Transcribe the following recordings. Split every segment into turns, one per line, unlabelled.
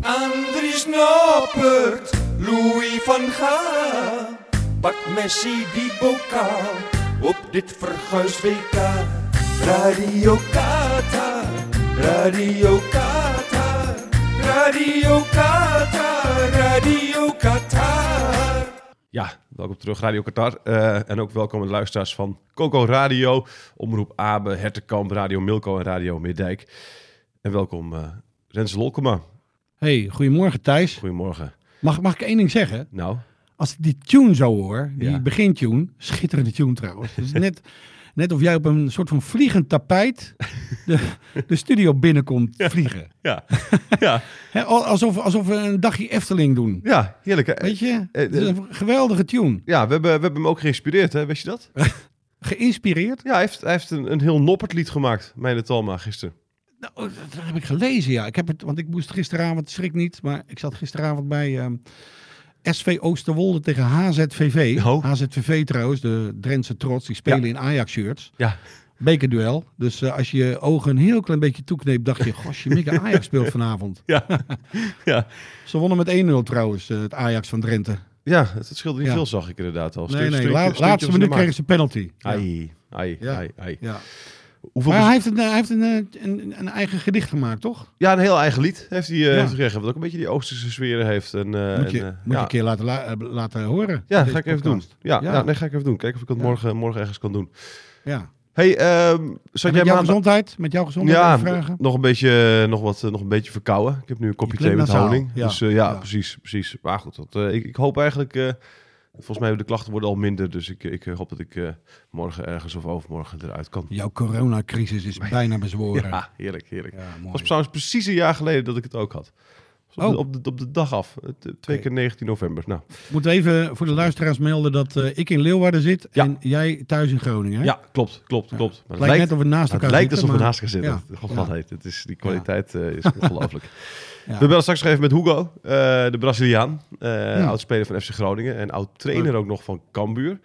Andries Noppert, Louis van Gaal. Pak Messi die bokaal op dit verguis WK. Radio Qatar, Radio Qatar, Radio Qatar, Radio Qatar.
Ja, welkom terug Radio Qatar. Eh, en ook welkom aan de luisteraars van Coco Radio, Omroep Abe, Hertekamp, Radio Milko en Radio Middijk. En welkom eh Rens Lolkema.
Hey, goedemorgen Thijs.
Goedemorgen.
Mag, mag ik één ding zeggen?
Nou,
Als ik die tune zo hoor, die
Ja.
begintune, schitterende tune trouwens. Het is net, net of jij op een soort van vliegend tapijt de, de studio binnenkomt vliegen.
ja, ja,
Hè, al- alsof, alsof we een dagje Efteling doen.
ja heerlijk hè?
Weet je,
eh,
het is een geweldige tune.
Ja, we hebben, we hebben hem ook geïnspireerd hè, wist je dat?
Geïnspireerd?
Ja, hij heeft, hij heeft een, een heel noppert lied gemaakt, Meijne Talma, gisteren.
Nou, dat heb ik gelezen, ja. Ik heb het, want ik moest gisteravond, schrik niet, maar ik zat gisteravond bij ehm, SV Oosterwolde tegen HZVV.
Oh.
HZVV trouwens, de Drentse trots, die spelen
Ja.
in Ajax-shirts.
Ja,
Bekerduel. Dus eh, als je je ogen een heel klein beetje toekneept, dacht je, gosh, je mikke Ajax speelt vanavond.
ja, ja.
Ze wonnen met 1-0 trouwens, eh, het Ajax van Drenthe.
ja het, het scheelde niet
Ja.
veel, zag ik inderdaad al.
Nee,
Stuntje-
nee,
stuntje-
la-
stuntje
laatste
was
minuut
in de
kregen ze penalty.
maak. Ai, ai,
Ja.
ai, ai.
Ja.
Hoeveel
Maar
bezoek-
hij heeft, een, eh, hij heeft een, eh, een, een eigen gedicht gemaakt, toch?
Ja, een heel eigen lied heeft hij eh,
Ja.
heeft gekregen. Wat ook een beetje die Oosterse sfeer heeft. En, eh,
Moet je,
en, eh,
moet je
ja.
een keer laten, la- eh, laten horen.
ja,
Deze
ga ik even doen.
podcast.
Ja,
Ja.
ja. nee, ga ik even doen. Kijken of ik het
Ja.
morgen, morgen ergens kan doen.
Ja.
hey, ehm zat
En
jij
met jouw
maandag...
gezondheid? Met jouw gezondheid
Ja,
even vragen?
nog een beetje, eh, nog wat, eh, nog een beetje verkouden. Ik heb nu een kopje thee met
klinkt nasaal,
honing.
ja.
Dus eh, ja,
Ja.
precies, precies. Maar goed, dat, eh, ik, ik hoop eigenlijk... eh, volgens mij de klachten worden al minder. Dus ik, ik hoop dat ik eh, morgen ergens of overmorgen eruit kan.
Jouw coronacrisis is bijna bezworen.
Ja, heerlijk, heerlijk.
Ja,
Het
mooi.
was trouwens precies een jaar geleden dat ik het ook had. Dus op,
Oh.
de, op, de, op de dag af. Het, eh, Twee
Oké.
keer 19 november. Nou,
Moeten we even voor de luisteraars melden dat eh, ik in Leeuwarden zit
Ja.
en jij thuis in Groningen. hè?
Ja, klopt, klopt, klopt. Maar
Het lijkt net of we naast
het
elkaar
lijkt
zitten,
alsof we
maar-
naast elkaar zitten.
Ja.
God,
Ja.
wat heet, het is, die kwaliteit eh, is ongelooflijk.
Ja.
We bellen straks nog even met Hugo, eh, de Braziliaan. eh
Ja.
Oud-speler van FC Groningen en oud-trainer ook nog van Cambuur.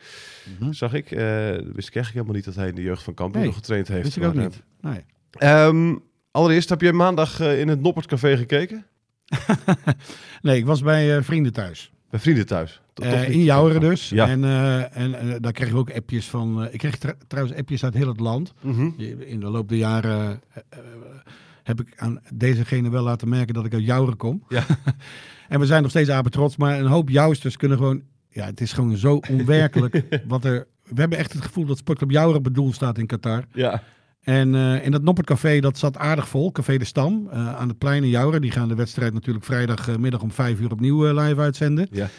Mhm.
Zag ik. Eh, dat wist ik eigenlijk helemaal niet dat hij in de jeugd van Cambuur
Nee,
nog getraind heeft.
Wist ik ook
maar,
niet. Nee.
eh, ehm, allereerst, heb jij maandag eh, in het Noppertcafé gekeken?
nee, ik was bij eh, vrienden thuis.
Bij vrienden thuis? To-
Eh,
toch niet?
in Jouweren dus.
Ja.
En, eh, en eh, daar kregen we ook appjes van. eh, ik kreeg tr- trouwens appjes uit heel het land.
Mhm.
In de loop der jaren eh, eh, heb ik aan dezegene wel laten merken dat ik uit Jouweren kom.
Ja.
en we zijn nog steeds apen trots. Maar een hoop Jouwsters kunnen gewoon... Ja, het is gewoon zo onwerkelijk wat er... We hebben echt het gevoel dat Sportclub Jouweren bedoeld staat in Qatar.
Ja,
En eh, in dat Noppertcafé, dat zat aardig vol. Café de Stam, eh, aan het plein in Jouren. Die gaan de wedstrijd natuurlijk vrijdagmiddag om vijf uur opnieuw eh, live uitzenden.
Ja.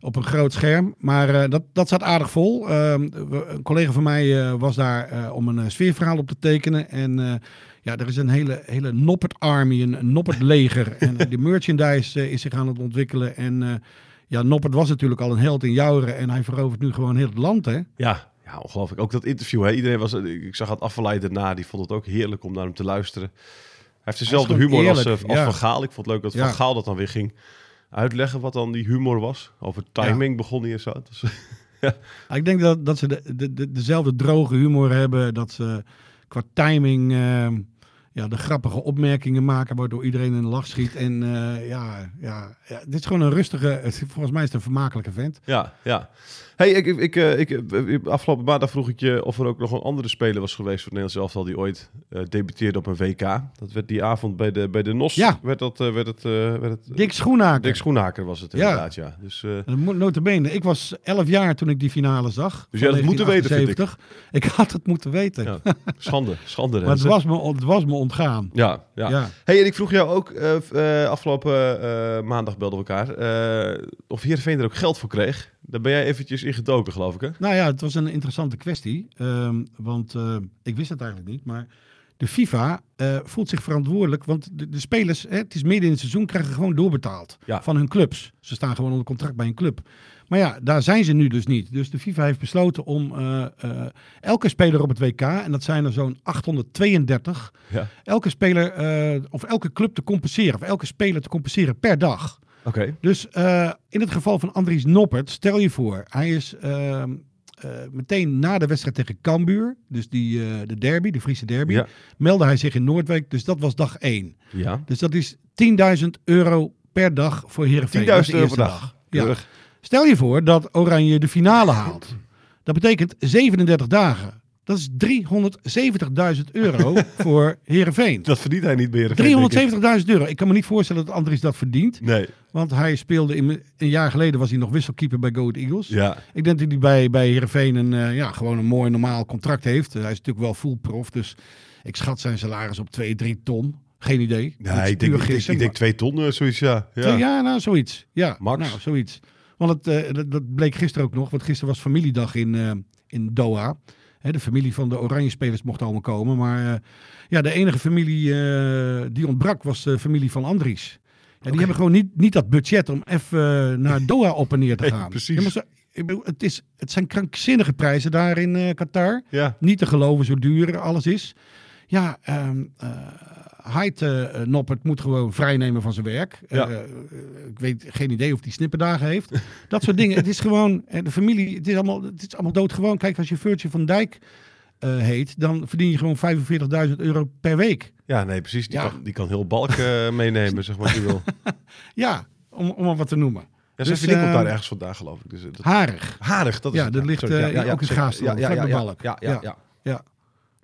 Op een groot scherm. Maar eh, dat, dat zat aardig vol. Ehm, we- een collega van mij eh, was daar eh, om een eh, sfeerverhaal op te tekenen. En eh, ja, er is een hele, hele Noppert Army, een, een Noppert leger. en eh, die merchandise eh, is zich aan het ontwikkelen. En eh, ja, Noppert was natuurlijk al een held in Jouren. En hij verovert nu gewoon heel het land, hè?
Ja, ja ongelooflijk. Ook dat interview. Hè? Iedereen was, ik zag het afgeleid daarna. Die vond het ook heerlijk om naar hem te luisteren. Hij heeft dezelfde
gewoon
humor als,
eerlijk,
eh, als
ja.
Van Gaal. Ik vond het leuk dat
Ja.
Van Gaal dat dan weer ging uitleggen. Wat dan die humor was. Over timing begon hij en zo. Dus,
Ja, Ah, Ik denk dat, dat ze de, de, de- dezelfde droge humor hebben. Dat ze qua timing ehm, ja, de grappige opmerkingen maken. Waardoor iedereen in de lach schiet. En eh, ja, ja, ja, dit is gewoon een rustige. het- Volgens mij is het een vermakelijke vent.
ja, ja. Hey, ik, ik, eh, ik, eh, afgelopen maandag vroeg ik je of er ook nog een andere speler was geweest voor het Nederlands elftal die ooit eh, debuteerde op een WK. Dat werd die avond bij de, bij de NOS.
Ja.
Werd dat, eh, werd het, eh, werd het,
Dick Schoenaker.
Dick Schoenhaker was het
Ja.
inderdaad, ja. Dus, eh,
En mo- Notabene, ik was 11 jaar toen ik die finale zag.
Dus je had het moeten weten, vind ik.
1978. ik. had het moeten weten.
Ja, schande, schande.
maar het
Renze.
was, me, on- het was me ontgaan.
Ja, ja.
Ja.
Hey, en ik vroeg jou ook, eh, v- eh, afgelopen eh, maandag belden we elkaar, eh, of Heerenveen er ook geld voor kreeg. Daar ben jij eventjes in gedoken, geloof ik, hè?
eh, Nou ja, het was een interessante kwestie. ehm, want ehm, ik wist het eigenlijk niet. Maar de FIFA eh, voelt zich verantwoordelijk. Want de, de spelers, hè, het is midden in het seizoen, krijgen gewoon doorbetaald
Ja.
van hun clubs. Ze staan gewoon onder contract bij een club. Maar ja, daar zijn ze nu dus niet. Dus de FIFA heeft besloten om eh, eh, elke speler op het WK, en dat zijn er zo'n 832,
Ja.
elke speler eh, of elke club te compenseren, of elke speler te compenseren per dag.
Oké.
Dus eh, in het geval van Andries Noppert, stel je voor, hij is ehm, eh, meteen na de wedstrijd tegen Cambuur, dus die, eh, de derby, de Friese derby,
Ja.
meldde hij zich in Noordwijk. Dus dat was dag 1.
Ja.
Dus dat is 10.000 euro per dag voor Heerenveen.
10.000
Dat is de
euro per
eerste
dag.
Ja.
Keurig.
Stel je voor dat Oranje de finale haalt. Dat betekent 37 dagen. Dat is 370.000 euro voor Heerenveen.
Dat verdient hij niet meer.
370.000 euro. Ik kan me niet voorstellen dat Andries dat verdient.
Nee.
Want hij speelde in, een jaar geleden was hij nog wisselkeeper bij Go Ahead Eagles.
Ja.
Ik denk dat hij bij, bij Heerenveen een, eh, ja, gewoon een mooi normaal contract heeft. Eh, hij is natuurlijk wel full prof, dus ik schat zijn salaris op 2, 3 ton. Geen idee. Dat is
Nee, ik
puur
denk, ik, denk,
gissen,
ik denk twee ton, eh, zoiets, ja.
maar-
Ja.
ja, nou, zoiets. Ja,
Max.
Nou, zoiets. Want het, eh, dat, dat bleek gisteren ook nog, want gisteren was familiedag in, eh, in Doha. Hè, de familie van de Oranje-spelers mocht allemaal komen. Maar eh, ja, de enige familie eh, die ontbrak was de familie van Andries. Ja, die hebben gewoon niet, niet dat budget om even eh, naar Doha op en neer te
Nee,
gaan.
precies.
Ja, maar zo- ik bedoel, het, is, het zijn krankzinnige prijzen daar in eh, Qatar.
Ja.
Niet te geloven zo duur alles is. Ja, ehm eh, Hyde eh, Noppert moet gewoon vrijnemen van zijn werk.
Ja.
Eh, eh, ik weet geen idee of hij snipperdagen heeft. Dat soort dingen. Het is gewoon, en de familie, het is allemaal, het is allemaal doodgewoon. Kijk, als je Virtje van Dijk eh, heet, dan verdien je gewoon 45.000 euro per week.
ja, nee, precies. Die,
Ja.
kan, die kan heel balk eh, meenemen, zeg maar. als je wil.
Ja, om, om maar wat te noemen.
Ja,
Dus,
dus, ik
eh,
komt daar ergens vandaan, geloof ik. Dus, eh, dat...
Harig.
Harig, dat is
Ja,
het.
dat ligt,
Sorry,
eh, ook in
zeker.
Gaasland,
ja,
vlak
ja,
bij
ja,
Balk.
Ja, ja,
Ja.
ja.
Ja.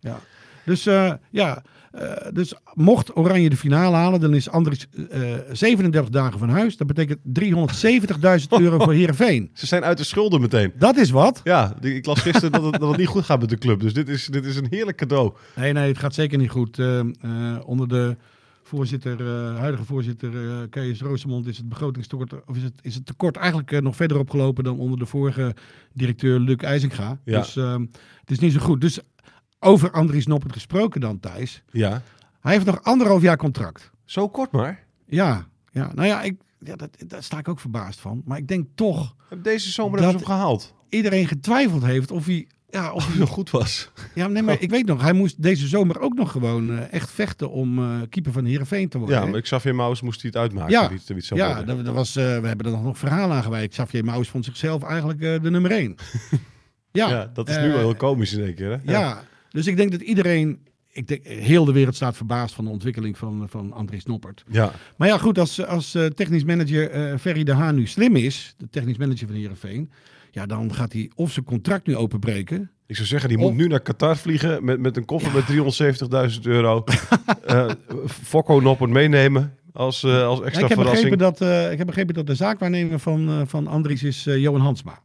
ja. Dus eh, ja, eh, dus mocht Oranje de finale halen, dan is Andries eh, 37 dagen van huis. Dat betekent 370.000 euro voor Heerenveen.
Ze zijn uit de schulden meteen.
Dat is wat.
Ja, die- ik las gisteren dat het, dat het niet goed gaat met de club. Dus dit is, dit is een heerlijk cadeau.
Nee, nee, het gaat zeker niet goed. Eh, eh, onder de voorzitter, eh, huidige voorzitter eh Kees Roosemond is het begrotingstekort, of is het, is het tekort eigenlijk eh, nog verder opgelopen dan onder de vorige directeur Luc IJzinga.
Ja.
Dus ehm, het is niet zo goed. Dus over Andries Noppert gesproken dan, Thijs.
Ja.
Hij heeft nog anderhalf jaar contract.
Zo kort maar.
Ja, ja. nou ja, ik, ja dat, daar sta ik ook verbaasd van. Maar ik denk toch,
Heb Deze zomer
Dat-
hebben ze hem gehaald.
iedereen getwijfeld heeft of hij... Ja, of
Of hij nog goed was.
Ja, nee,
Oh.
maar ik weet nog, hij moest deze zomer ook nog gewoon eh, echt vechten om eh, keeper van Heerenveen te worden.
Ja,
hè?
maar Xavier Maus moest hij het uitmaken.
Ja.
of iets- of iets zou
ja
worden.
dat, dat was, eh, we hebben er nog nog verhaal aan gewijd. Xavier Maus vond zichzelf eigenlijk eh, de nummer één. ja,
Ja, dat is nu
eh,
wel heel komisch in één keer. Hè?
Ja. dus ik denk dat iedereen, ik denk, heel de wereld staat verbaasd van de ontwikkeling van, van Andries Noppert.
Ja.
Maar ja, goed, als, als eh, technisch manager eh Ferry de Haan nu slim is, de technisch manager van Heerenveen, ja, dan gaat hij of zijn contract nu openbreken.
Ik zou zeggen, die
Oh.
moet nu naar Qatar vliegen met, met een koffer met 370.000 euro. Eh Fokko Noppert meenemen als, eh, als
Ja,
extra
ik, heb
verrassing.
begrepen dat, eh, ik heb begrepen dat de zaakwaarnemer van, eh, van Andries is eh, Johan Hansma.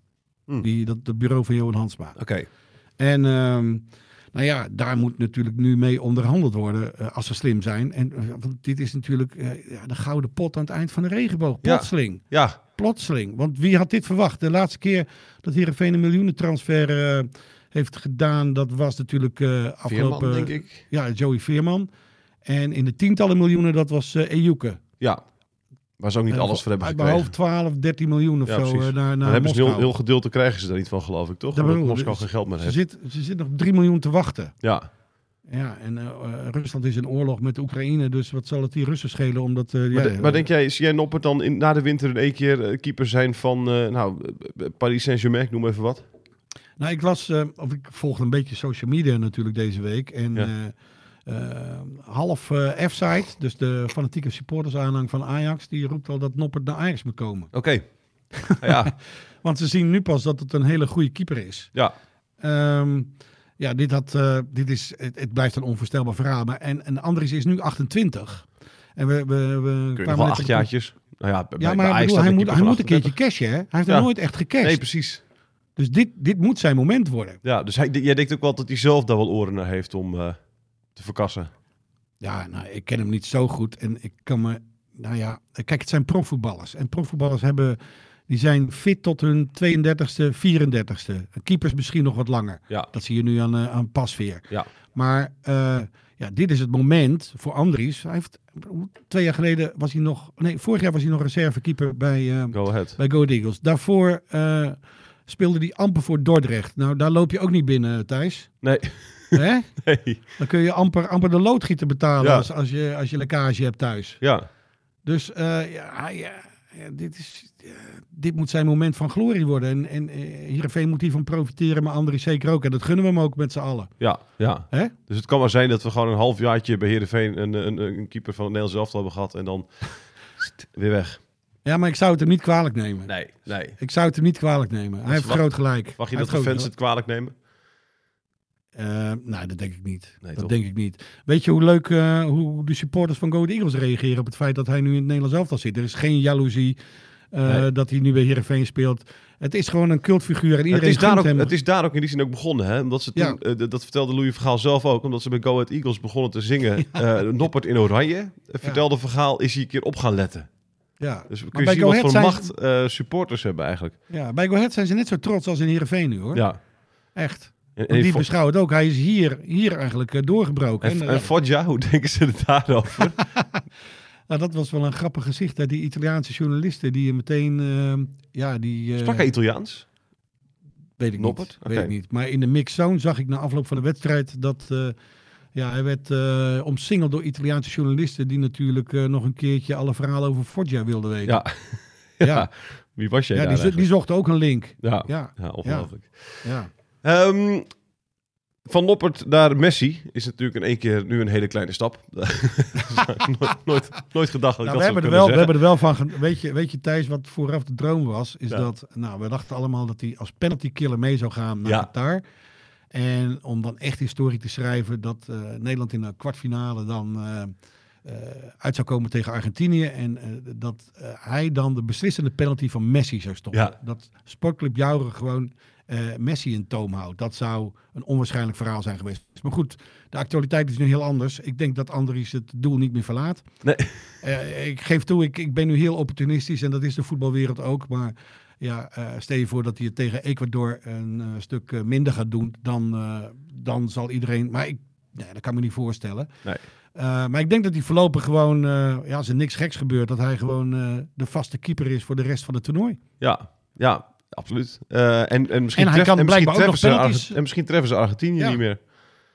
Hmm.
Die, dat, dat bureau van Johan Hansma.
Oké.
En ehm, nou ja, daar moet natuurlijk nu mee onderhandeld worden eh, als ze slim zijn. En eh, want dit is natuurlijk eh, ja, de gouden pot aan het eind van de regenboog.
Ja.
Plotseling.
Ja,
Plotseling. Want wie had dit verwacht? De laatste keer dat Heerenveen een miljoenentransfer eh, heeft gedaan, dat was natuurlijk eh, afgelopen...
Veerman, denk ik.
Ja, Joey Veerman. En in de tientallen miljoenen, dat was eh Ejuke.
Ja. Waar ze ook niet
Eh,
alles voor hebben
Uit mijn
gekregen.
hoofd 12, 13 miljoen of
Ja,
zo
precies.
eh, naar,
Maar
naar
hebben ze
Moskou.
heel, heel gedeelte krijgen ze daar niet van, geloof ik, toch?
Dat
Omdat
bedoel ik,
Moskou
dus-
geen geld meer
Ze
heeft.
zit, ze zit nog 3 miljoen te wachten.
Ja,
Ja, en eh, eh, Rusland is in oorlog met Oekraïne, dus wat zal het die Russen schelen? Omdat, eh,
maar,
ja,
de- maar denk jij, zie jij Noppert dan in, na de winter in één keer eh, keeper zijn van eh, nou, eh, Paris Saint-Germain, ik noem even wat?
Nou, ik las, eh, of ik volgde een beetje social media natuurlijk deze week. En
Ja.
eh, eh, half eh, F-site, dus de fanatieke supportersaanhang van Ajax, die roept al dat Noppert naar Ajax moet komen.
Oké. ja,
Want ze zien nu pas dat het een hele goede keeper is.
ja.
Ehm, ja, dit, had, eh, dit is, het, het blijft een onvoorstelbaar verhaal. Maar en, en Andries is nu 28. En we, we, we
Kun je
kwamen
nog wel
net
acht
op-
jaartjes? Nou ja, bij-
Ja,
bij
maar ik
Ajax
bedoel,
staat
hij,
de
moet, hij
keeper
moet
van
een keertje cashen, hè? Hij heeft
Ja.
nog nooit echt
38.
gecashed.
Nee, precies.
dus dit, dit moet zijn moment worden.
Ja, dus hij, jij denkt ook wel dat hij zelf daar wel oren naar heeft om eh, te verkassen.
Ja, nou, ik ken hem niet zo goed. En ik kan me. Nou ja, kijk, het zijn profvoetballers. En profvoetballers hebben. Die zijn fit tot hun 32e, 34e. Keepers misschien nog wat langer.
Ja.
Dat zie je nu aan, eh, aan Pasveer.
Ja.
Maar eh, Ja, dit is het moment voor Andries. Hij heeft, twee jaar geleden was hij nog... Nee, vorig jaar was hij nog reservekeeper bij, eh,
Go ahead.
bij Go Ahead Eagles. Daarvoor eh, speelde hij amper voor Dordrecht. Nou, daar loop je ook niet binnen, eh, Thijs.
Nee,
Hè?
nee.
Dan kun je amper, amper de loodgieter betalen
Ja.
als, als, je, als je lekkage hebt thuis.
Ja,
Dus eh, ja, hij, eh, ja, dit, is, eh, dit moet zijn moment van glorie worden. En, en eh, Heerenveen moet hiervan profiteren, maar Andries zeker ook. En dat gunnen we hem ook met z'n allen.
ja, ja.
Hè?
Dus het kan maar zijn dat we gewoon een halfjaartje bij Heerenveen een, een, een keeper van het Nederlands elftal hebben gehad en dan weer weg.
Ja, maar ik zou het hem niet kwalijk nemen.
Nee, nee.
Ik zou het hem niet kwalijk nemen. Hij heeft
wacht-
groot gelijk.
Mag je dat de
Hij heeft groot
fans het kwalijk nemen?
gelijk. Eh, nee, dat denk ik niet.
Nee,
dat
toch?
denk ik niet. Weet je hoe leuk eh, hoe de supporters van Go Ahead Eagles reageren op het feit dat hij nu in het Nederlands elftal zit? Er is geen jaloezie eh,
Nee.
dat hij nu bij Heerenveen speelt. Het is gewoon een cultfiguur en
Het
iedereen
is, daar
gunt
ook,
hem.
het is daar ook in die zin ook begonnen, hè? Omdat ze toen,
Ja.
eh, d- dat vertelde Louis Vergaal zelf ook, omdat ze bij Go Ahead Eagles begonnen te zingen. eh Noppert in Oranje. Eh, Vertelde Vergaal, is hij een keer op gaan letten.
ja.
Dus kun
bij
je zien
Go
wat voor
Ahead zijn-
macht eh, supporters hebben eigenlijk.
Ja, bij Go Ahead zijn ze net zo trots als in Heerenveen nu hoor.
Ja.
Echt.
En,
Want
en,
die
Fo-
beschouwen het ook. Hij is hier, hier eigenlijk eh, doorgebroken.
en,
En,
en
eh,
Foggia, hoe denken ze er daarover?
nou, dat was wel een grappig gezicht. Hè? Die Italiaanse journalisten die je meteen... eh, ja, die... eh,
Sprak hij Italiaans?
Weet ik
Noppert?
niet. Weet
Oké.
ik niet. Maar in de mixed zone zag ik na afloop van de wedstrijd dat eh, ja, hij werd eh, omsingeld door Italiaanse journalisten die natuurlijk eh, nog een keertje alle verhalen over Foggia wilden weten.
Ja.
Ja.
ja. Wie was jij
Ja,
daar
die, zo- die
eigenlijk?
zochten ook een link.
Ja.
Ja,
ja, ongelooflijk.
ja.
Ehm, van Noppert naar Messi is natuurlijk in één keer nu een hele kleine stap. nooit, nooit, nooit gedacht dat
Nou,
ik dat
we, hebben
zou
er
kunnen
wel, we
zeggen.
hebben er wel van... ge- Weet je, weet je Thijs, wat vooraf de droom was? Is
Ja.
dat, nou, we dachten allemaal dat hij als penalty killer mee zou gaan naar
Ja.
Qatar. En om dan echt historie te schrijven dat eh, Nederland in de kwartfinale dan eh, eh, uit zou komen tegen Argentinië. En eh, dat eh, hij dan de beslissende penalty van Messi zou stoppen.
Ja.
Dat Sportclub Jouren gewoon eh, Messi in toom houdt. Dat zou een onwaarschijnlijk verhaal zijn geweest. Maar goed, de actualiteit is nu heel anders. Ik denk dat Andries het doel niet meer verlaat.
Nee.
Eh, ik geef toe, ik, ik ben nu heel opportunistisch en dat is de voetbalwereld ook. Maar ja, eh, stel je voor dat hij het tegen Ecuador een eh, stuk eh, minder gaat doen, dan, eh, dan zal iedereen. Maar ik, nee, dat kan me niet voorstellen.
Nee.
Eh, maar ik denk dat hij voorlopig gewoon, eh, ja, als er niks geks gebeurt, dat hij gewoon eh, de vaste keeper is voor de rest van het toernooi.
Ja, ja absoluut. Eh, en, en misschien
En hij
tref-
kan
en misschien
blijkbaar ook
treffen
nog
ze Arge-
penalties.
En misschien treffen ze Argentinië
Ja.
niet meer.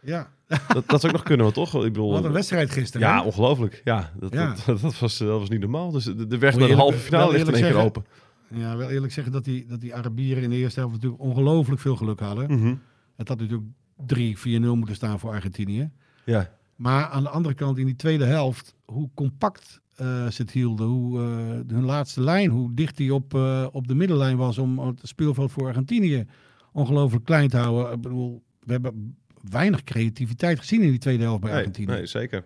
Ja,
Dat, dat zou ook nog kunnen, want toch? Ik bedoel,
wat een wedstrijd gisteren.
ja,
hè?
ongelooflijk. Ja, dat,
Ja.
Dat, dat, was, dat was niet normaal. Dus de, de weg
Moet
naar de
eerlijk-
halve finale
wel
ligt in één keer
eerlijk
open.
ja, wel eerlijk zeggen dat die, dat die Arabieren in de eerste helft natuurlijk ongelooflijk veel geluk hadden.
Mhm.
Het had natuurlijk 3-4-0 moeten staan voor Argentinië.
Ja,
Maar aan de andere kant, in die tweede helft, hoe compact eh, ze het hielden. Hoe, eh, hun laatste lijn, hoe dicht die op, eh, op de middenlijn was om het speelveld voor Argentinië ongelooflijk klein te houden. Ik bedoel, we hebben weinig creativiteit gezien in die tweede helft bij
nee,
Argentinië.
nee, zeker.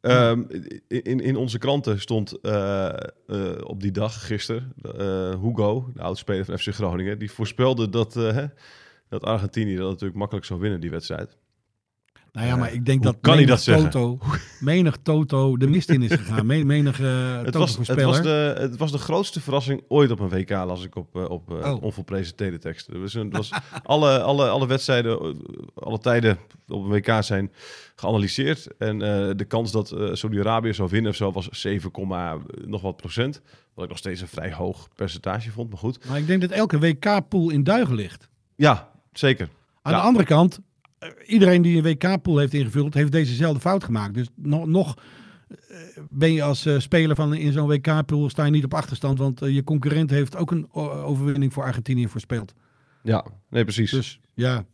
Ehm, in, in onze kranten stond eh, eh, op die dag, gisteren, eh, Hugo, de oudspeler van FC Groningen, die voorspelde dat, eh, hè, dat Argentinië dat natuurlijk makkelijk zou winnen, die wedstrijd.
Nou ja, maar ik denk
Hoe
dat
kan hij
menig
dat zeggen?
Toto, menig Toto de mist in is gegaan. Me- Menig eh
Het was, het, was
Toto-voorspeller.
de, het was de grootste verrassing ooit op een WK, las ik op, eh, op eh
Oh.
onvolpresenteerde teksten. Er was een- was alle, alle, alle wedstrijden, eh, alle tijden op een WK zijn geanalyseerd. En eh, de kans dat eh, Saudi-Arabië zou winnen of zo was 7, komma eh, nog wat procent. Wat ik nog steeds een vrij hoog percentage vond, maar goed.
Maar ik denk dat elke WK-pool in duigen ligt.
Ja, zeker.
Aan
Ja.
de andere kant, eh, iedereen die een WK-pool heeft ingevuld, heeft dezezelfde fout gemaakt. Dus nog, nog eh, ben je als eh, speler van in zo'n WK-pool sta je niet op achterstand, want eh, je concurrent heeft ook een o- overwinning voor Argentinië voorspeeld.
Ja, nee, precies.
Dus ja,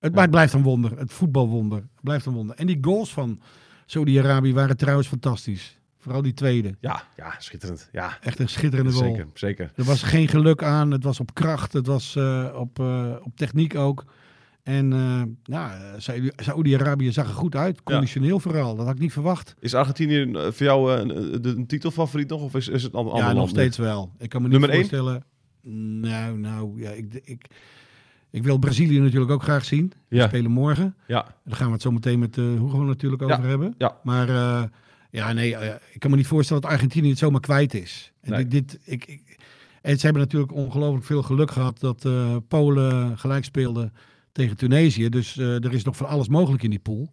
het, maar het blijft een wonder. Het voetbalwonder Het blijft een wonder. En die goals van Saudi-Arabië waren trouwens fantastisch. Vooral die tweede.
ja, ja, schitterend. Ja,
Echt een schitterende goal.
zeker, zeker.
Er was geen geluk aan. Het was op kracht. Het was eh, op, eh, op techniek ook. En eh ja, Saudi- Saudi-Arabië zag er goed uit. Conditioneel vooral. Dat had ik niet verwacht.
Is Argentinië eh, voor jou eh, een, een, een titelfavoriet nog? Of is, is het een ander
ja,
land
nog
nu?
steeds wel. Ik kan me
Nummer één?
niet voorstellen. Nou, nou, ja, ik, ik, ik wil Brazilië natuurlijk ook graag zien. Die
Ja.
spelen morgen.
Ja,
Daar gaan we het zo meteen met eh Hugo natuurlijk
Ja,
over hebben.
ja.
Maar eh, ja, nee, eh, ik kan me niet voorstellen dat Argentinië het zomaar kwijt is. En
Nee.
dit, dit, ik, ik, en ze hebben natuurlijk ongelooflijk veel geluk gehad dat eh, Polen gelijk speelde tegen Tunesië. Dus eh, er is nog van alles mogelijk in die pool.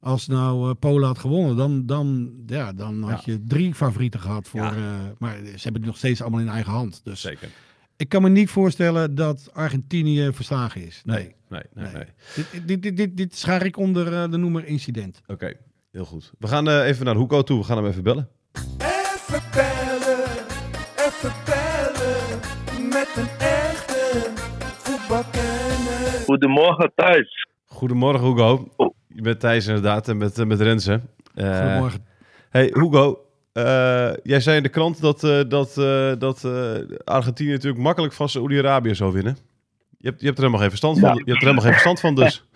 Als nou eh, Polen had gewonnen, dan, dan, ja, dan had je drie favorieten gehad. Voor,
Ja.
eh, maar ze hebben het nog steeds allemaal in eigen hand. Dus
Zeker.
ik kan me niet voorstellen dat Argentinië verslagen is. Nee.
Nee, nee, nee.
Nee. Dit, dit, dit, dit, dit schaar ik onder eh, de noemer incident.
Oké, heel goed. We gaan eh, even naar Hoeko toe. We gaan hem even bellen.
Even bellen, even bellen met een echte voetbalkenner.
Goedemorgen thuis.
Goedemorgen, Hugo. Met Thijs inderdaad en met, eh, met Renze. Eh,
Goedemorgen.
Hey, Hugo. eh, jij zei in de krant dat, eh, dat, eh, dat eh, Argentinië natuurlijk makkelijk van Saoedi-Arabië zou winnen. Je hebt, je hebt er helemaal geen verstand van.
Ja.
Je hebt er helemaal geen verstand van, dus.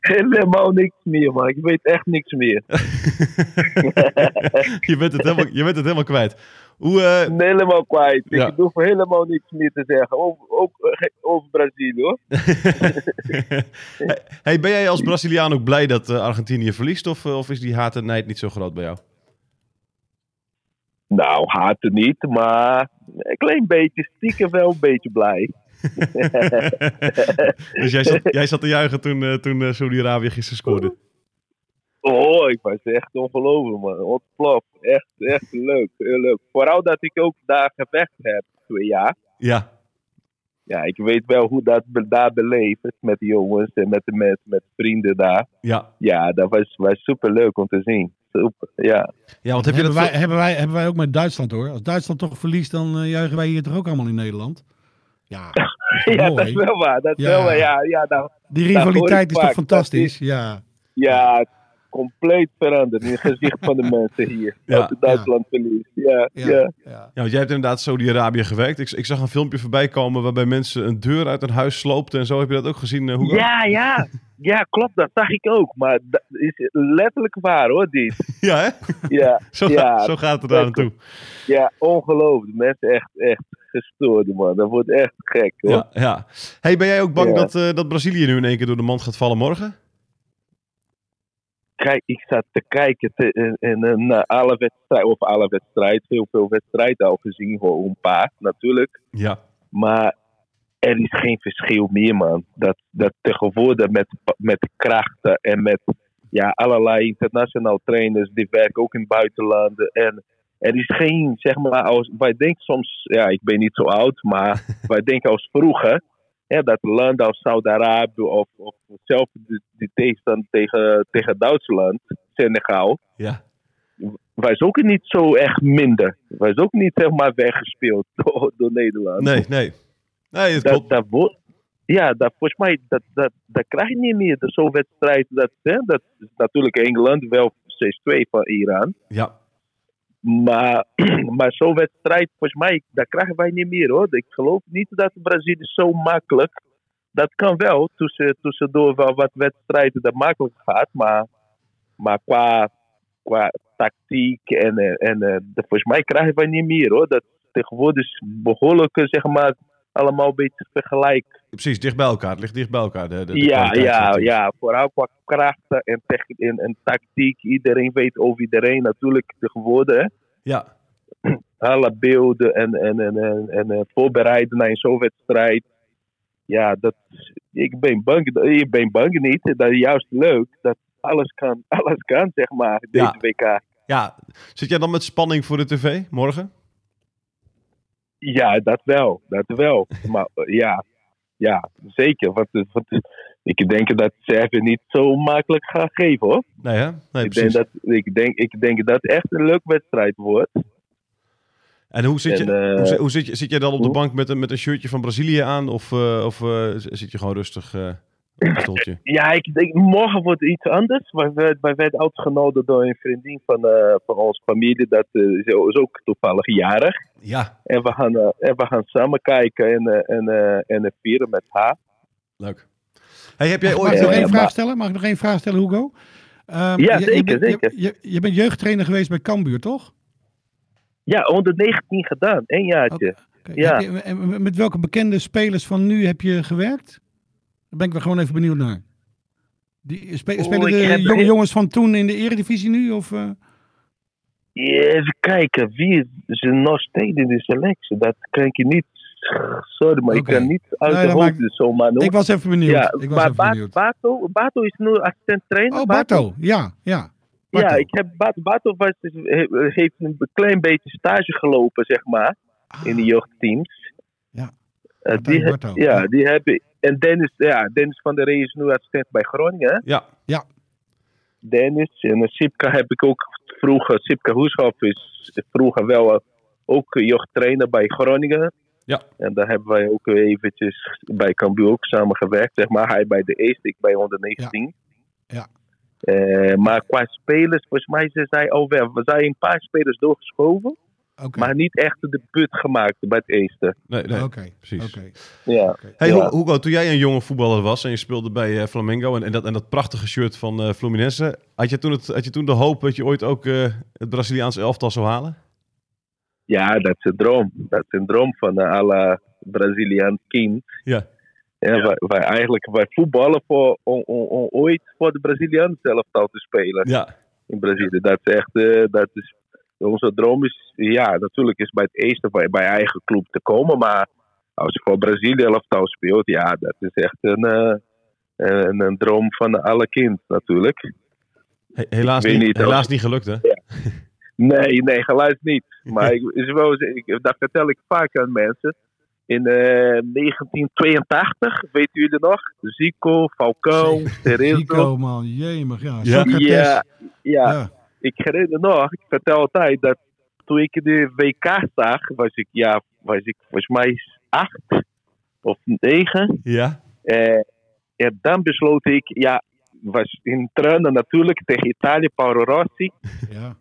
Helemaal niks meer, man. Ik weet echt niks meer.
je, bent het helemaal, je bent het helemaal kwijt. Hoe, eh,
Ik ben helemaal kwijt.
Ja.
Ik hoef helemaal niks meer te zeggen. Ook, ook eh, ge- over Brazilië, hoor.
hey, ben jij als Braziliaan ook blij dat eh, Argentinië verliest? Of, eh, of is die haat en nijd niet zo groot bij jou?
Nou, haten niet, maar een klein beetje stiekem wel een beetje blij.
dus jij zat, jij zat te juichen toen, eh, toen eh, Saudi-Arabië gisteren scoorde.
Oh, ik was echt ongelooflijk, man. Ontplof. Echt, echt leuk. Heel leuk. Vooral dat ik ook daar gevecht heb, twee jaar.
Ja,
Ja, ik weet wel hoe dat be- daar beleefd is met de jongens en met de mensen, met vrienden daar.
ja.
Ja, dat was, was super leuk om te zien. Super, ja.
ja want heb je
Hebben
dat...
wij, hebben, wij, hebben wij ook met Duitsland hoor. Als Duitsland toch verliest, dan eh, juichen wij hier toch ook allemaal in Nederland. Ja, dat is toch
Ja,
mooi.
dat is wel waar. Dat is
Ja.
wel waar. Ja, ja, nou,
Die
hoor
rivaliteit
ik
is toch
vaak.
fantastisch? Ja.
ja, compleet veranderd in het gezicht van de mensen hier.
Ja,
Als het Duitsland verliest. Ja, ja.
Ja, ja.
Ja, want jij hebt inderdaad Saudi-Arabië gewerkt. Ik, ik zag een filmpje voorbij komen waarbij mensen een deur uit hun huis sloopten. En zo heb je dat ook gezien, eh, Hugo?
Ja, ja. Ja, klopt. Dat zag ik ook. Maar dat is letterlijk waar hoor, dit.
Ja, hè?
Ja,
Zo,
Ja,
gaat- zo gaat het daar aan toe.
ja ongelooflijk. Mensen echt, echt gestoord, man. Dat wordt echt gek hoor.
Ja, ja. Hey, ben jij ook bang
Ja.
dat, eh, dat Brazilië nu in één keer door de mand gaat vallen morgen?
Kijk, ik zat te kijken te, en, en, en, naar alle wedstrijden, of alle wedstrijden, heel veel wedstrijden al gezien, gewoon een paar natuurlijk.
Ja.
Maar er is geen verschil meer, man. Dat, dat tegenwoordig met, met krachten en met ja, allerlei internationaal trainers die werken ook in buitenlanden. En er is geen, zeg maar, als, wij denken soms, ja, ik ben niet zo oud, maar wij denken als vroeger. Hè, dat landen als Saudi-Arabië of, of zelfs de, de tegenstand tegen, tegen Duitsland, Senegal,
Ja.
was ook niet zo echt minder. Was ook niet, zeg maar, weggespeeld door, door Nederland
Nee, nee. Nee, het
dat,
klopt.
dat wordt. Ja, dat, volgens mij, dat, dat, dat krijg je niet meer. Dat Zo'n wedstrijd, dat, hè, dat is natuurlijk Engeland wel 6-2 van Iran.
Ja.
Maar, maar zo'n wedstrijd, volgens mij, dat krijgen wij niet meer hoor. Ik geloof niet dat Brazilië zo makkelijk. Dat kan wel, tussen, tussendoor wel wat wedstrijden dat makkelijk gaat. Maar, maar qua, qua tactiek en, eh, en eh, dat- volgens mij krijgen wij niet meer hoor. Dat tegenwoordig is behoorlijk, eh, zeg maar, allemaal een beetje vergelijk
Precies, dicht bij elkaar. Het ligt dicht bij elkaar. De, de- de
ja,
kwaliteit van
ja,
het team.
ja. Vooral qua krachten en, tech- en, en tactiek. Iedereen weet over iedereen natuurlijk tegenwoordig. hè.
Ja.
Alle beelden en, en, en, en, en, eh, voorbereiden naar zo'n wedstrijd. Ja, dat, ik, ben bang, ik ben bang niet. Dat is juist leuk. Dat alles kan, alles kan zeg maar, deze
Ja.
WK.
Ja. Zit jij dan met spanning voor de tv morgen?
Ja, dat wel. Dat wel. Maar eh, ja, ja zeker. Want, eh, want, eh, ik denk dat Servië niet zo makkelijk gaat geven hoor.
Nee, hè? Nee,
ik, denk
precies.
dat, ik, denk, ik denk dat het echt een leuke wedstrijd wordt.
En hoe zit
En,
je...
eh,
Hoe, zi- hoe zit, je, zit jij dan op de
hoe?
bank met een, met een shirtje van Brazilië aan? Of, eh, of eh, z- zit je gewoon rustig eh, op een stoeltje?
ja, ik denk morgen wordt iets anders. Wij, werd- wij werden uitgenodigd door een vriendin van, eh van onze familie. Dat eh, is is ook toevallig jarig.
Ja,
En we gaan, eh, en we gaan samen kijken en, eh, en, eh, en het vieren met haar.
leuk. Hey, heb jij
Mag ik
ooit...
Ja,
nog
ja,
één vraag
maar-
stellen? Mag ik nog één vraag stellen, Hugo? Ehm,
Ja, zeker,
bent-
zeker.
Je, je bent jeugdtrainer geweest bij Cambuur, toch?
Ja, 119 gedaan. één jaartje.
Oké,
Ja.
heb je- en met welke bekende spelers van nu heb je gewerkt? Daar ben ik wel gewoon even benieuwd naar. Die, spe-
Oh,
spelen
ik
de
heb-
jonge jongens van toen in de eredivisie nu? Of, eh?
Ja, Even kijken, wie is er nog steeds in de selectie? Dat kan ik je niet Sorry, maar
Oké.
ik kan niet uit
Nee,
de
dat
hoofd
maakt-
dus zomaar noemen.
Ik was even benieuwd.
ja,
ik was
maar
even
Ba-
benieuwd.
Bato, Bato is nu assistent trainer.
Oh, Barto. Ja, ja. Barto.
Ja, ik heb Bato, Bato was, he- heeft een klein beetje stage gelopen, zeg maar, in de jeugdteams.
Ja.
Eh,
Martijn
die, he-
Barto.
ja,
Ja.
die hebben... En Dennis, ja, Dennis van der Rey is nu assistent bij Groningen. hè?
Ja,
Dennis en eh, Sipka heb ik ook vroeger. Sipka Hoeshoff is vroeger wel eh, ook jeugdtrainer bij Groningen.
Ja.
En daar hebben wij ook eventjes bij Cambuur ook samengewerkt. Zeg maar. Hij bij de East, ik bij 119.
Ja.
Eh, maar qua spelers, volgens mij zijn zij al weg. We zijn een paar spelers doorgeschoven,
Ah, Oké.
maar niet echt de put gemaakt bij het eerste.
nee, nee.
Oké.
precies.
Oké.
Ja.
Hey,
Ja.
Hu- Hugo, toen jij een jonge voetballer was en je speelde bij eh, Flamengo en, en, dat, en dat prachtige shirt van eh, Fluminense, had je, toen het, had je toen de hoop dat je ooit ook eh, het Braziliaanse elftal zou halen?
ja, dat is een droom. Dat is een droom van een alle Braziliaan kind.
Ja.
Ja, Wij, wij eigenlijk wij voetballen voor, om, om, om ooit voor de Brazilianen zelftal te spelen
Ja,
in Brazilië. Dat is echt, eh, dat is, onze droom is, ja, natuurlijk is bij het eerste bij, bij eigen club te komen, maar als je voor Brazilië elftal speelt, ja, dat is echt een, eh, een, een droom van alle kind natuurlijk.
He- helaas,
Ik weet
niet,
niet,
helaas niet gelukt hè?
Nee, nee, geluid niet. Maar ik, is wel, ik, dat vertel ik vaak aan mensen. In eh, 1982, weten jullie nog? Zico, Falcao, Terezo.
Nico, man. Jemig. Ja.
Ja.
Socrates.
Ja, ja,
Ja.
ik herinner nog, ik vertel altijd dat toen ik de WK zag, was ik, ja, was ik volgens mij acht of negen.
Ja,
Eh, en dan besloot ik, ja, was in tranen natuurlijk tegen Italië, Paolo Rossi.
Ja.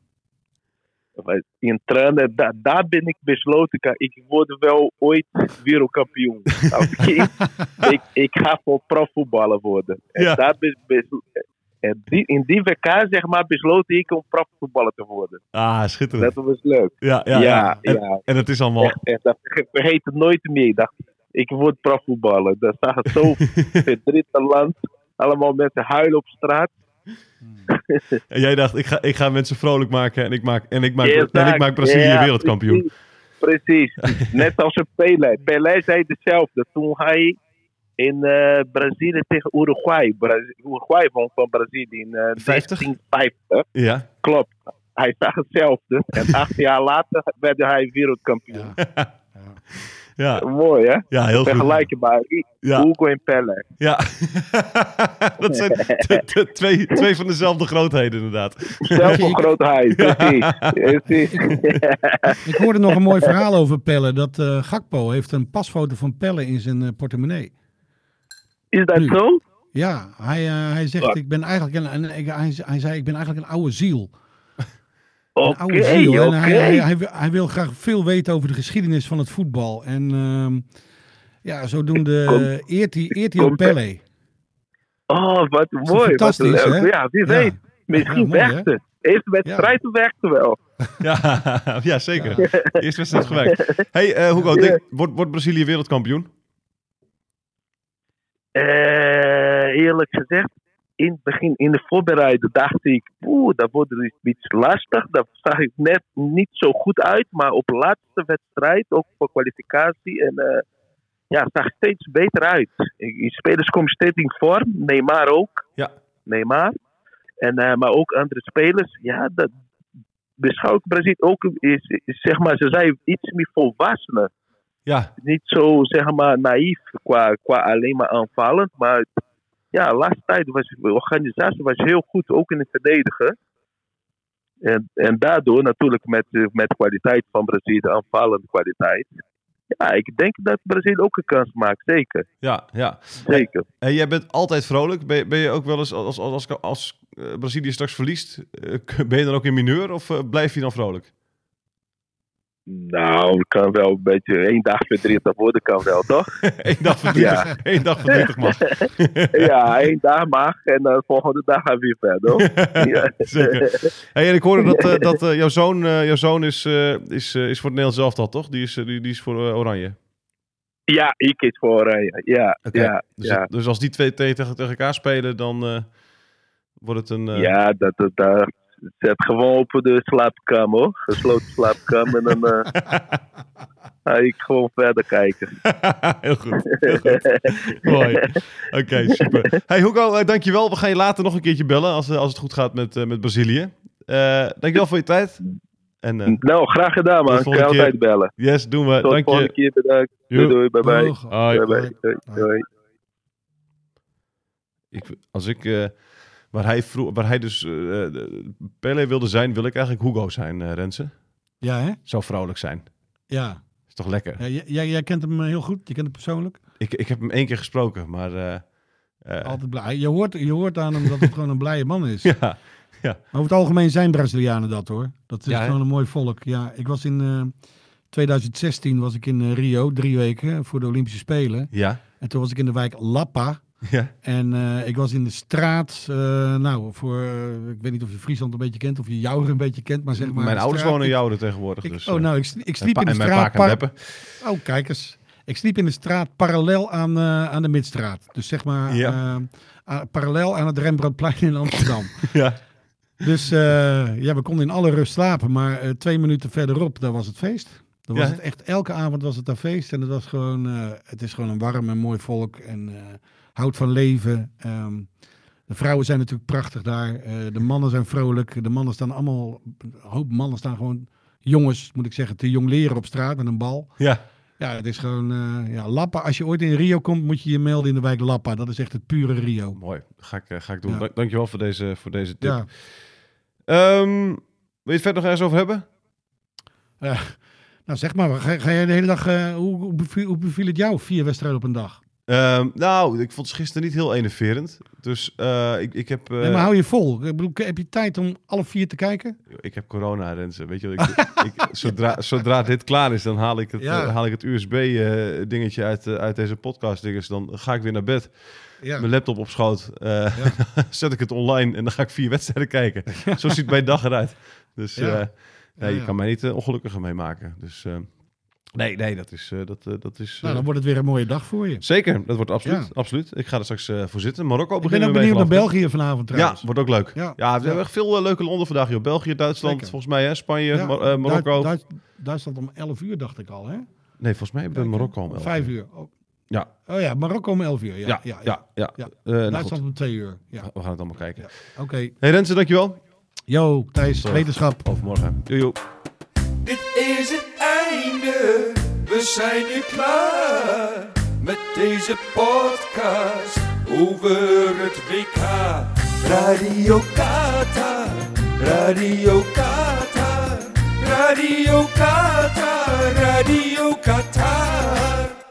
Was In tranen, da, daar ben ik besloten, ka- ik word wel ooit wereldkampioen. Als kind, ik, ik ga voor profvoetballer worden. En,
Ja.
daar bes- bes- en die, in die WK, zeg maar, besloot ik om profvoetballer te worden.
ah, schitterend.
Dat was leuk.
Ja, ja,
Ja, ja.
En, en het is allemaal...
Echt, echt, dat verge- vergeet het nooit meer. Ik dacht, ik word profvoetballer. Dat zag het zo verdrietig land. Allemaal mensen huilen op straat.
En jij dacht, ik ga, ik ga mensen vrolijk maken en ik maak, en ik maak,
Yes,
en ik
daar.
maak Brazilië
Ja,
wereldkampioen.
Precies. precies. Net als een Pelé. Pelé zei hetzelfde. Toen hij in eh, Brazilië tegen Uruguay. Bra- Uruguay won van Brazilië in eh,
50?
1950.
Ja,
Klopt. Hij zag hetzelfde. En acht jaar later werd hij wereldkampioen.
Ja.
ja,
Mooi hè?
ja, heel goed.
Vergelijkbaar.
Ja,
Hugo en Pelé.
ja. dat zijn t- t- twee, twee van dezelfde grootheden inderdaad.
Zelf een groot huis, precies. precies.
Ik hoorde nog een mooi verhaal over Pelle. Dat eh, Gakpo heeft een pasfoto van Pelle in zijn eh, portemonnee.
Is dat
Nu.
zo?
Ja, hij, eh, hij zegt,
Ja.
ik ben eigenlijk een, een- ik- hij, hij zei, ik ben eigenlijk een oude ziel. Een
Oké,
oude ziel.
oké.
En hij, hij, hij wil- hij wil graag veel weten over de geschiedenis van het voetbal. En ehm, ja, zodoende
Komt-
eh, eert hij, eert hij ook
komt-
Pelle.
Oh,
toch
wat mooi. Wat
fantastisch,
leuk.
hè?
Ja, wie
Ja.
weet. Misschien
Ja, mooi,
werkt het. Eerst wedstrijd werkt het wel.
Ja, ja zeker. Eerst wedstrijd gewerkt. hey, eh, Hugo, denk- wordt, wordt Brazilië wereldkampioen?
Eh, eerlijk gezegd, in het begin, in de voorbereiding, dacht ik, oeh, dat wordt dus iets lastig. Dat zag ik net niet zo goed uit. Maar op de laatste wedstrijd, ook voor kwalificatie, en, eh, ja, zag het steeds beter uit. Die spelers komen steeds in vorm. Neymar ook.
Ja.
Neymar. En, eh, maar ook andere spelers. Ja, dat beschouw ik Brazil ook, is, is, zeg maar, ze zijn iets meer volwassenen
Ja,
niet zo zeg maar naïef qua, qua alleen maar aanvallend. Maar ja, de laatste tijd was de organisatie was heel goed, ook in het verdedigen. En, en daardoor natuurlijk met, eh, met de kwaliteit van Brazilië, de aanvallende kwaliteit. Ja, ik denk dat Brazilië ook een kans maakt, zeker.
ja, ja.
zeker.
En jij bent altijd vrolijk. Ben, ben je ook wel eens, als, als, als, als eh, Brazilië straks verliest, eh, ben je dan ook in mineur of eh, blijf je dan vrolijk?
Nou, het kan wel een beetje één dag verdrietig worden, kan wel, toch?
Eén dag verdrietig, één dag verdrietig mag.
ja, één dag mag en dan de volgende dag gaan we weer verder. Ja.
Zeker. Hey, en ik hoorde dat, eh, dat eh, jouw zoon, eh, jouw zoon is, eh, is, eh, is voor het Nederlands elftal, toch? Die is, eh, die, die is voor eh, Oranje.
Ja, ik kies voor Oranje. Ja,
Oké,
ja,
Dus,
ja.
dus als die twee te- tegen, tegen elkaar spelen, dan eh, wordt het een... eh,
Ja, dat, dat, dat zet gewoon op de slaapkamer hoor. Gesloten slaapkamer. En dan, eh, ga ik gewoon verder kijken.
heel goed. Heel goed. Mooi. Oké, super. Hey Hugo, eh, dankjewel. We gaan je later nog een keertje bellen als, eh, als het goed gaat met, eh, met Brazilië. Eh dankjewel voor je tijd. En eh,
Nou, graag gedaan, man.
Tot
Ik
volgende
kan
keer.
altijd bellen.
yes, doen we.
Tot de
Dank
volgende
je.
keer, bedankt. Doei,
Joep.
doei, bye bye.
Doeg.
Hoi.
Bye bye. Doei, doei.
Ik, als ik, eh, waar, hij vroeg, waar hij dus eh, de- Pele wilde zijn, wil ik eigenlijk Hugo zijn, eh Rensen.
Ja, hè?
Zo vrouwelijk zijn.
Ja.
Is toch lekker?
Ja, j- jij, jij kent hem eh, heel goed. Je kent hem persoonlijk.
Ik, ik heb hem één keer gesproken, maar... eh, eh,
Altijd blij. Je hoort, je hoort aan hem dat het gewoon een blije man is.
ja,
Maar over het algemeen zijn Brazilianen dat hoor. Dat is
Ja, hè?
gewoon een mooi volk. Ja, ik was in eh, 2016 was ik in eh, Rio, drie weken voor de Olympische Spelen.
ja,
En toen was ik in de wijk Lapa.
ja.
En eh, ik was in de straat, eh, nou, voor, eh, ik weet niet of je Friesland een beetje kent, of je Jouwer een beetje kent, maar zeg maar...
Mijn
de
ouders
straat-
wonen in
ik-
Jouwen tegenwoordig.
ik-
dus,
oh,
eh,
nou, ik, sli- ik
en
sliep
pa-
in de
en mijn
straat...
pa kan
par-
rappen.
Oh, kijk eens. Ik sliep in de straat parallel aan, eh, aan de Midstraat. Dus zeg maar
Ja.
eh, aan- parallel aan het Rembrandtplein in Amsterdam.
Ja.
Dus eh, ja, we konden in alle rust slapen. Maar eh, twee minuten verderop, daar was het feest. Dan was
Ja.
het echt, elke avond was het daar feest. En het, was gewoon, eh, het is gewoon een warm en mooi volk. En eh, houdt van leven. Ehm, de vrouwen zijn natuurlijk prachtig daar. Eh, de mannen zijn vrolijk. De mannen staan allemaal... Een hoop mannen staan gewoon... Jongens, moet ik zeggen, te jong leren op straat met een bal.
Ja,
Ja, het is gewoon... eh, ja, Lappa. Als je ooit in Rio komt, moet je je melden in de wijk Lappa. Dat is echt het pure Rio.
mooi. Ga ik, eh, ga ik doen.
Ja.
Dank- Dankjewel voor deze, voor deze tip.
Ja.
Ehm, wil je het verder nog ergens over hebben?
Nou, zeg maar, ga, ga jij de hele dag. eh, hoe, hoe, beviel, hoe beviel het jou? Vier wedstrijden op een dag.
Ehm, nou, ik vond het gisteren niet heel enerverend. Dus eh, ik, ik heb... eh,
nee, maar hou je vol. Ik bedoel, heb je tijd om alle vier te kijken?
Ik heb corona, Rensen. Weet je wat ik, ik, zodra, zodra dit klaar is, dan haal ik het,
Ja.
eh, haal ik het USB-dingetje uit, eh, uit deze podcast. dinges. Dan ga ik weer naar bed.
Ja.
Mijn laptop op schoot. eh, zet ik het online en dan ga ik vier wedstrijden kijken. Zo ziet mijn dag eruit. Dus
Ja.
eh, nee,
Ja,
je
ja.
kan mij niet eh, ongelukkiger mee maken. Dus eh, nee, nee, dat is... eh, dat, eh, dat is
Nou,
eh,
dan wordt het weer een mooie dag voor je.
Zeker, dat wordt absoluut.
Ja.
absoluut. Ik ga er straks eh, voor zitten. Marokko
Ik ben
beginnen
ook
we mee,
benieuwd naar
geloof ik.
België vanavond trouwens.
Ja, wordt ook leuk. Ja,
Ja.
we hebben
Ja.
echt veel eh, leuke landen vandaag. Joh. België, Duitsland,
Zeker.
volgens mij, hè? Spanje,
Ja,
Mar- eh, Marokko.
Duits- Duits- Duitsland om 11 uur, dacht ik al. Hè?
nee, volgens mij hebben we Marokko om 11
Vijf
uur.
uur. Oh.
Ja.
Oh ja, Marokko om 11 uur. Ja,
Ja, ja, ja.
Ja.
Eh, nou goed,
Duitsland om 2 uur. Ja.
we gaan het allemaal kijken.
Ja. Oké.
Hey Rensen, dankjewel.
Yo, Thijs,
Tot, eh,
wetenschap.
Overmorgen. Joe, joe.
Dit is het einde, we zijn nu klaar met deze podcast over het WK. Radio Qatar, Radio Qatar, Radio Qatar, Radio Qatar.